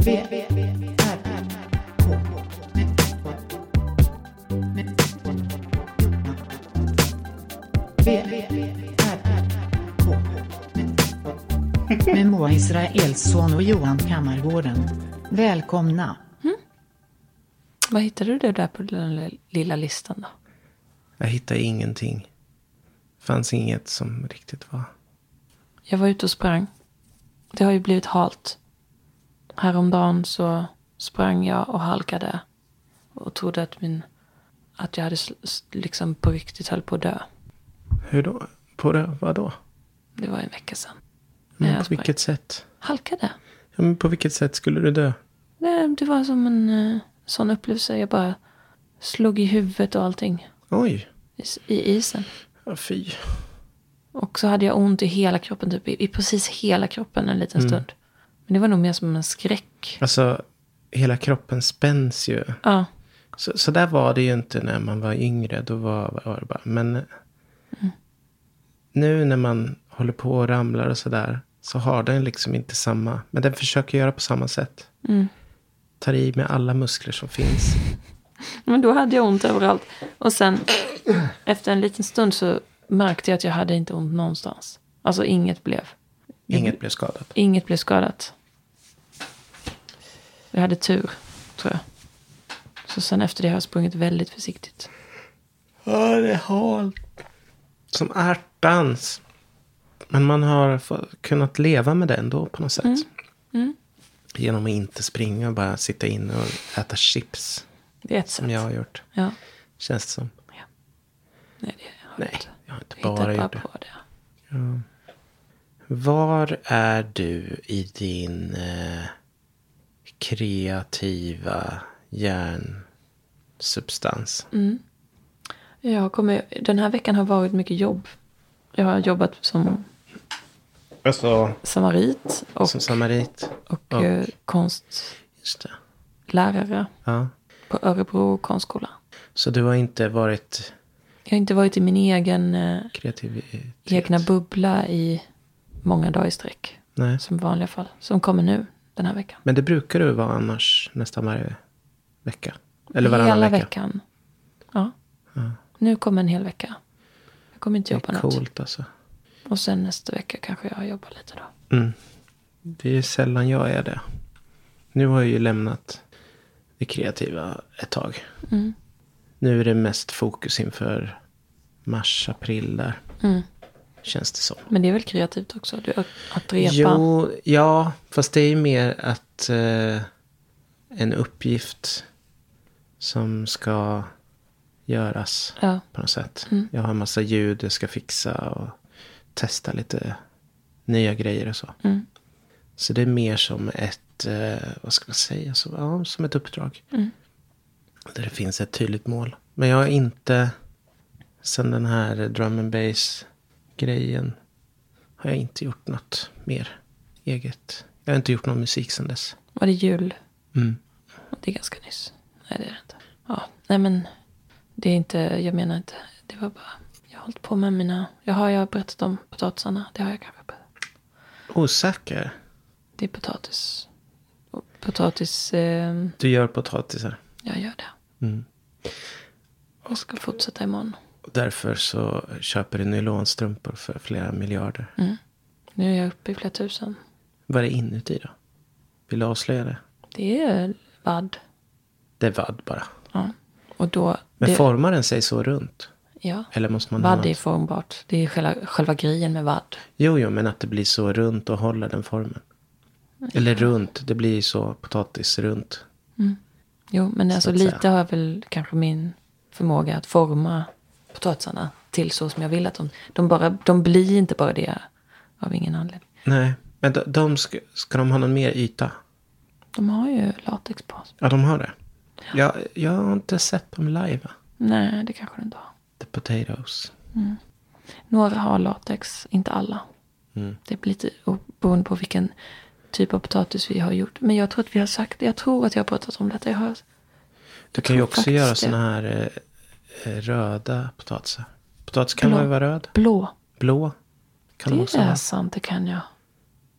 V, R, K. V, R, K. Med Moa Israelsson och Johan Kammargården. Välkomna. Vad hittade du det där på den lilla listan då? Jag hittade ingenting. Fanns inget som riktigt var. Jag var ute och sprang. Det har ju blivit halt. Häromdagen så sprang jag och halkade och trodde att, min, att jag hade sl- s- liksom på riktigt höll på att dö. Hur då? På det, vad då? Det var en vecka sedan. Men jag på sprang. vilket sätt? Halkade. Ja, men på vilket sätt skulle du dö? Det, det var som en eh, sån upplevelse. Jag bara slog i huvudet och allting Oj, i, s- i isen. ja, fy. Och så hade jag ont i hela kroppen, typ i, i precis hela kroppen en Mm. liten stund. Men det var nog mer som en skräck. Alltså, hela kroppen spänns ju. Ja, Så, så där var det ju inte när man var yngre. Då var, var det bara, men nu när man håller på och ramlar och sådär. Så har den liksom inte samma. Men den försöker göra på samma sätt. Tar i med alla muskler som finns. men då hade jag ont överallt. Och sen efter en liten stund så märkte jag att jag hade inte ont någonstans. Alltså inget blev. Inget blev skadat. Inget blev skadat. Jag hade tur, tror jag. Så sen efter det har jag sprungit väldigt försiktigt. Ja, det är halt. Som ärtans. Men man har få- kunnat leva med det ändå på något sätt. Mm. Genom att inte springa och bara sitta inne och äta chips. Det är ett sätt. Som jag har gjort. Ja. Känns det som. Nej, det har jag Nej, inte. jag har inte Jag bara hittade gjort bara det. på det. Var är du i din eh, kreativa hjärnsubstans? Mm. Jag kommer, den här veckan har varit mycket jobb. Jag har jobbat som Alltså, samarit och, som samarit. och och- eh, konstlärare Just det. Ja. på Örebro konstskola. Så du har inte varit Jag har inte varit i min egen eh, kreativ? egna bubbla i många dagar i sträck. Nej. Som vanliga fall. Som kommer nu den här veckan. Men det brukar du vara annars nästan varje vecka? Eller varannan Hela vecka? veckan. Ja. Nu kommer en hel vecka. Jag kommer inte Det jobba är något. coolt alltså. Och sen nästa vecka kanske jag jobbar lite då. Mm. Det är ju sällan jag är det. Nu har jag ju lämnat det kreativa ett tag. Mm. Nu är det mest fokus inför mars, april där. Känns det som. Mm. Men det är väl kreativt också? Du, att, att repa? Jo, ja, fast det är ju mer att eh, en uppgift som ska göras Ja. på något sätt. Jag har en massa ljud jag ska fixa och testa lite nya grejer och så. Mm. Så det är mer som ett, eh, vad ska man säga, så, ja, som ett uppdrag. Där det finns ett tydligt mål. Men jag har inte, sen den här drum and bass grejen, har jag inte gjort något mer eget. Jag har inte gjort någon musik sen dess. Var det jul? Mm. Det är ganska nyss. Nej, det är det inte. Ja, nej men. Det är inte, jag menar inte. Det var bara, jag har hållit på med mina, jag har jag har berättat om potatisarna. Det har jag kanske berättat. Osäker. Det är potatis. Och potatis, eh, Du gör potatisar. jag gör det. Mm. Jag ska fortsätta imorgon. Och därför så köper du nylonstrumpor för flera miljarder. Nu är jag uppe i flera tusen. Vad är det inuti då? Vill du avslöja det? Det är vadd. Det är vadd bara. Ja. Och då, Men det, formar den sig så runt? ja. Eller måste man ha Vadd något? är formbart. Det är själva, själva grejen med vadd. Jo, jo, men att det blir så runt och håller den formen. Eller runt, det blir ju så potatis runt. Jo, men alltså att lite säga. har väl kanske min förmåga att forma potatisarna till så som jag vill att de... De, bara, de blir inte bara det av ingen anledning. Nej, men de, de ska, ska de ha någon mer yta? De har ju latex på sig. Ja, de har det. Jag, jag har inte sett dem live. va? Nej, det kanske de inte har. The potatoes. Några har latex, inte alla. Mm. Det blir lite o- beroende på vilken typ av potatis vi har gjort. Men jag tror att vi har sagt Jag tror att jag har pratat om detta. Jag har, Du kan ju tror också faktiskt göra det. såna här eh, eh, röda potatisar. Potatis kan Blå. väl vara röd? blå. Blå kan de Det också är vara. sant, det kan jag.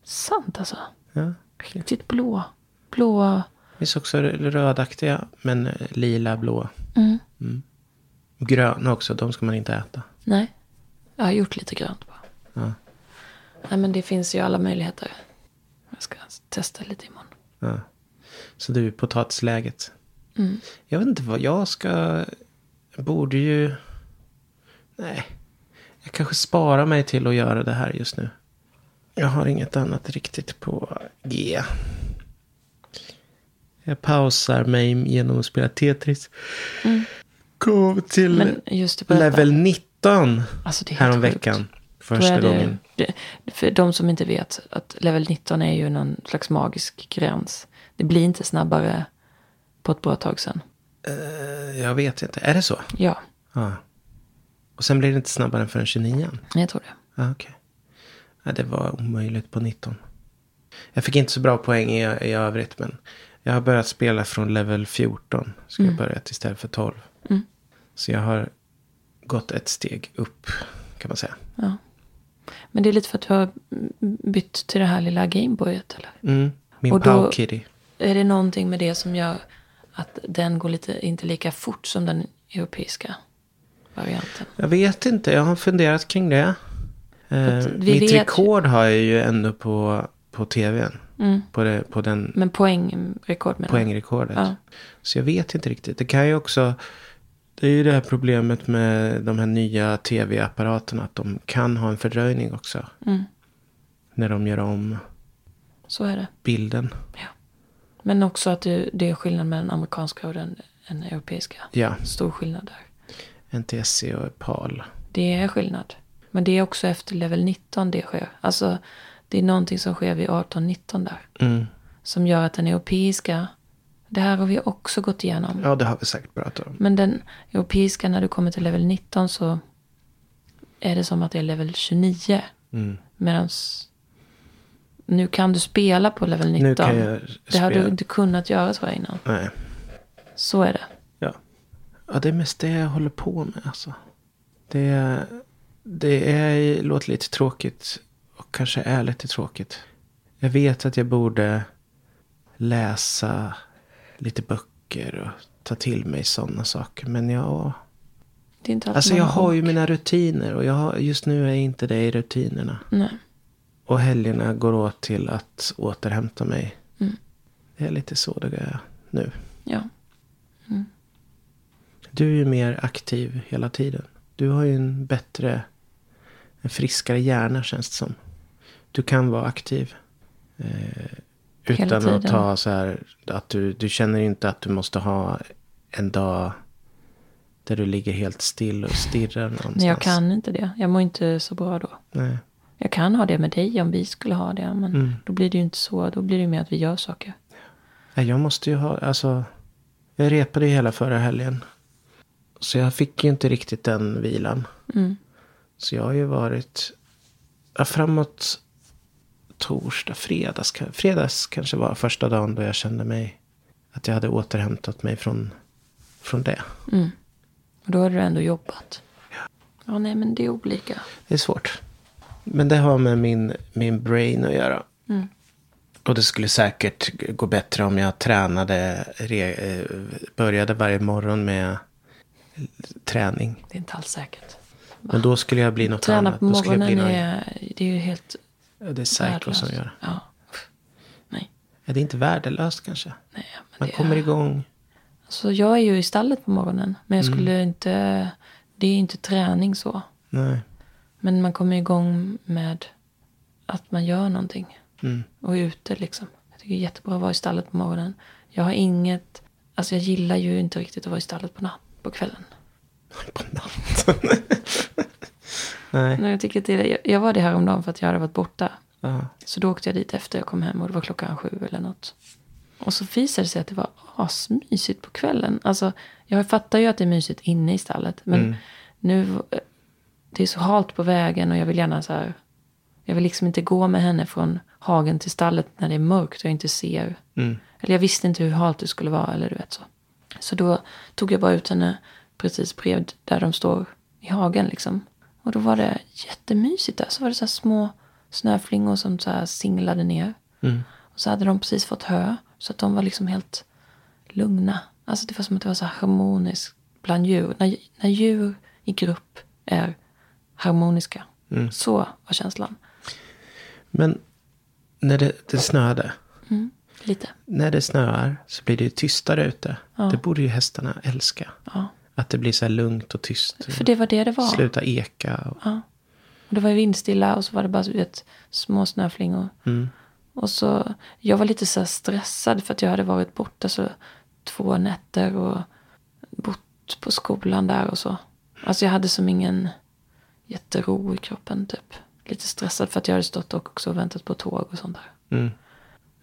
Sant alltså. Ja. Riktigt blå. blåa. Det finns också rödaktiga, men eh, lila, blåa. Mm. Och Gröna också, de ska man inte äta. Nej, jag har gjort lite grönt bara. Ja. Nej, men det finns ju alla möjligheter. Jag ska testa lite imorgon. Ja. Så du, potatisläget. Jag vet inte vad jag ska... Jag borde ju... Nej. Jag kanske sparar mig till att göra det här just nu. Jag har inget annat riktigt på G. Jag pausar mig genom att spela Tetris. Kom till Men just det, berätta. Mm. level 19 Alltså, det är helt häromveckan. sjukt. Då Första är det- gången. Det, för de som inte vet, att level 19 är ju någon slags magisk gräns. Det blir inte snabbare på ett bra tag sen. Eh, Jag vet inte. Är det så? Ja, Ja. Och sen blir det inte snabbare än förrän 29 jag tror det. Ja, okej. Ja, det var omöjligt på 19. Jag fick inte så bra poäng i, i övrigt, men jag har börjat spela från level 14. Ska Mm. jag börja till istället för 12. Så jag har gått ett steg upp, kan man säga. Men det är lite för att du har bytt till det här lilla Gameboyet eller? Mm. Min Och då- Pow Kitty. Är det någonting med det som gör att den går lite, inte lika fort som den europeiska varianten? Jag vet inte, jag har funderat kring det. Eh, Att vi vet mitt ju- rekord har jag ju ändå på, på tvn. Mm. På, det, på den Men poängrekord menar jag. poängrekordet. Ja. Så jag vet inte riktigt. Det kan ju också... Det är ju det här problemet med de här nya tv-apparaterna. Att de kan ha en fördröjning också. Mm. När de gör om Så är det. bilden. Men också att det, det är skillnad mellan den amerikanska och den, den europeiska. Ja, Stor skillnad där. NTSC och PAL. Det är skillnad. Men det är också efter level 19 det sker. Alltså det är någonting som sker vid 18-19 där. Mm. Som gör att den europeiska, det här har vi också gått igenom. Ja, det har vi säkert pratat om. Men den europeiska när du kommer till level 19 så är det som att det är level 29. Mm. Medan nu kan du spela på level 19. Nu kan jag Det har du spela. inte kunnat göra tror jag innan. Nej. Så är det. Ja. ja, det är mest det jag håller på med alltså. Det, det är, låter lite tråkigt och kanske är lite tråkigt. Jag vet att jag borde läsa lite böcker och ta till mig sådana saker. Men jag, det är inte alltid alltså man jag har ju mina rutiner och jag, har- just nu är inte det i rutinerna. Nej. Och helgerna går åt till att återhämta mig. Det är lite så det är nu. Ja. Du är ju mer aktiv hela tiden. Du har ju en bättre, en friskare hjärna känns det som. Du kan vara aktiv. Eh, Hela utan att tiden. ta så här, att du, du känner inte att du måste ha en dag där du ligger helt still och stirrar någonstans. Men jag kan inte det. Jag mår inte så bra då. Nej. Jag kan ha det med dig om vi skulle ha det. Men Mm. då blir det ju inte så. Då blir det ju mer att vi gör saker. Nej, jag måste ju ha, alltså. Jag repade ju hela förra helgen. Så jag fick ju inte riktigt den vilan. Så jag har ju varit, ja, framåt torsdag, fredags, ka- fredags kanske var första dagen då jag kände mig, att jag hade återhämtat mig från, från det. Och då har du ändå jobbat. Ja, nej men det är olika. Det är svårt. Men det har med min, min brain att göra. Mm. Och det skulle säkert g- gå bättre om jag tränade, re, eh, började varje morgon med träning. Det är inte alls säkert. Men då skulle jag bli något Träna annat. på Då skulle jag bli morgonen någon- är, det är ju helt Ja, Det är psycho som värdelöst. gör det. Ja. Pff, Nej, Ja, det är inte värdelöst kanske. nej. Men Man det kommer är... igång. Så jag är ju i stallet på morgonen. Men jag Mm. skulle inte... Det är inte träning så. Nej. Men man kommer igång med att man gör någonting. Mm. Och är ute liksom. Jag tycker det är jättebra att vara i stallet på morgonen. Jag har inget... Alltså jag gillar ju inte riktigt att vara i stallet på, natt, på kvällen. På natten. Nej. Nej, jag, tycker att det, jag, jag var det här om dagen för att jag hade varit borta. Ja. Så då åkte jag dit efter jag kom hem och det var klockan sju eller något. Och så visade det sig att det var asmysigt på kvällen. Alltså, jag fattar ju att det är mysigt inne i stallet. Men nu, eh, det är så halt på vägen och jag vill gärna så här. Jag vill liksom inte gå med henne från hagen till stallet när det är mörkt och jag inte ser. Eller jag visste inte hur halt det skulle vara eller du vet så. Så då tog jag bara ut henne precis bredvid där de står i hagen liksom. Och då var det jättemysigt där. Så var det så här små snöflingor som så här singlade ner. Och så hade de precis fått hö. Så att de var liksom helt lugna. Alltså det var som att det var så här harmoniskt bland djur. När, när djur i grupp är harmoniska. Så var känslan. Men när det, det snöade. Mm, lite. När det snöar så blir det ju tystare ute. Det borde ju hästarna älska. Ja. Att det blir så här lugnt och tyst. För det var det det var. Sluta eka. Och, Och Det var ju vindstilla och så var det bara du vet, små snöflingor. Och så, jag var lite så här stressad för att jag hade varit borta så två nätter och bott på skolan där och så. Alltså jag hade som ingen jättero i kroppen typ. Lite stressad för att jag hade stått och också väntat på tåg och sånt där. mm.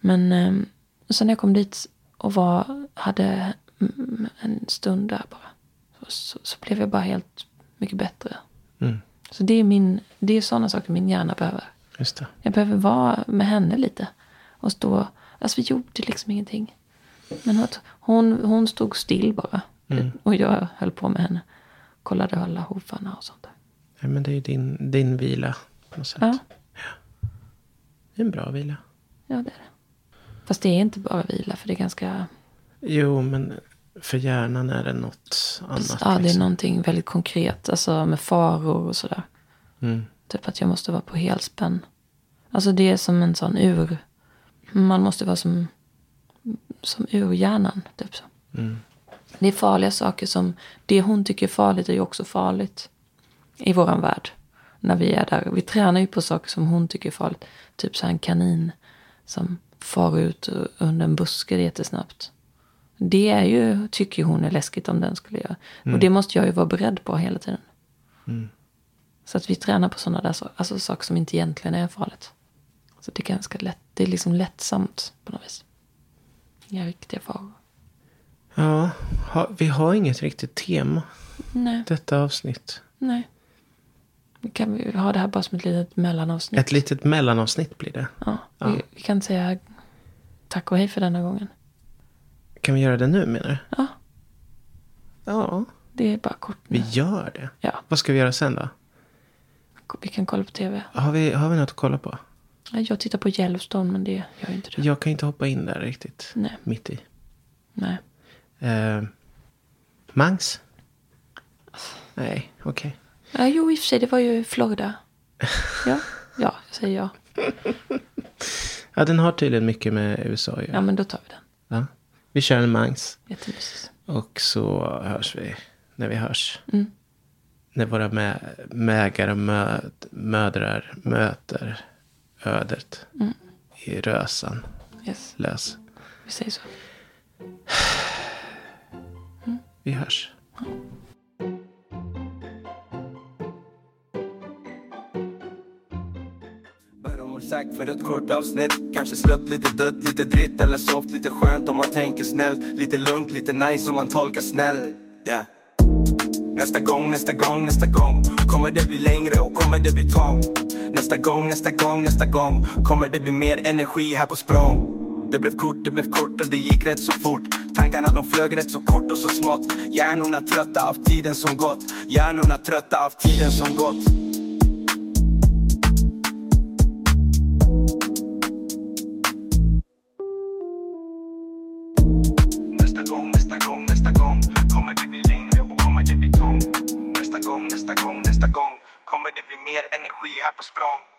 Men eh, sen när jag kom dit och var, hade mm, en stund där bara. Så, så, så blev jag bara helt mycket bättre. Mm. Så det är, min, det är sådana saker min hjärna behöver. Just det. Jag behöver vara med henne lite. Och stå, alltså vi gjorde liksom ingenting. Men att hon, hon stod still bara. Och jag höll på med henne. Kollade alla hovarna och sånt där. Nej, men det är ju din, din vila på något sätt. Ja. Ja. Det är en bra vila. Ja, det är det. Fast det är inte bara vila för det är ganska... Jo, men för hjärnan är det något annat. ja, det är liksom. någonting väldigt konkret. Alltså med faror och sådär. Mm. Typ att jag måste vara på helspänn. Alltså det är som en sån ur... Man måste vara som, som urhjärnan. Typ så. Mm. Det är farliga saker som... Det hon tycker är farligt är ju också farligt. I våran värld. När vi är där. Vi tränar ju på saker som hon tycker är farligt. Typ så här en kanin som far ut ur- under en buske jättesnabbt. Det är ju, tycker ju hon är läskigt om den skulle göra. Mm. Och det måste jag ju vara beredd på hela tiden. Så att vi tränar på sådana där saker, alltså saker som inte egentligen är farligt. Så det är ganska lätt, det är liksom lättsamt på något vis. Inga riktiga faror. Ja, ha, vi har inget riktigt tema Nej, detta avsnitt. nej. Vi kan vi ha det här bara som ett litet mellanavsnitt. Ett litet mellanavsnitt blir det. ja, Vi, vi kan säga tack och hej för denna gången. Kan vi göra det nu menar du? Ja, Ja, det är bara kort nu. vi gör det. Ja, Vad ska vi göra sen då? vi kan kolla på tv. Har vi, har vi något att kolla på? Ja, Jag tittar på Yellowstone men det gör ju inte du. Jag kan inte hoppa in där riktigt. Typ. Nej. Mitt i. Nej. Eh, Mangs? Nej, okej. Ja, jo, i och för sig, det var ju Florida. Ja, ja, jag säger ja. Ja, den har tydligen mycket med USA att göra. Ja, men då tar vi den. Ja. Vi kör en Mangs. Jättemysigt. Och så hörs vi när vi hörs. Mm. När våra mä- mägare och mö- mödrar möter ödet Mm. i rösan Yes, lös. vi säger så. Vi hörs. Bara mår sagt för ett kort avsnitt Kanske slött, lite dött, lite dritt eller soft Lite skönt om man tänker snällt Lite lugnt, lite nice om man tolkar snäll yeah. Nästa gång, nästa gång, nästa gång Kommer det bli längre och kommer det bli tomt Nästa gång, nästa gång, nästa gång Kommer det bli mer energi här på språng Det blev kort, det blev kort och det gick rätt så fort Tankarna de flög rätt så kort och så smått Hjärnorna trötta av tiden som gått Hjärnorna trötta av tiden som gått Nästa gång, nästa gång, nästa gång kommer det bli längre och kommer det bli tomt. Nästa gång, nästa gång, nästa gång kommer det bli mer energi här på språng.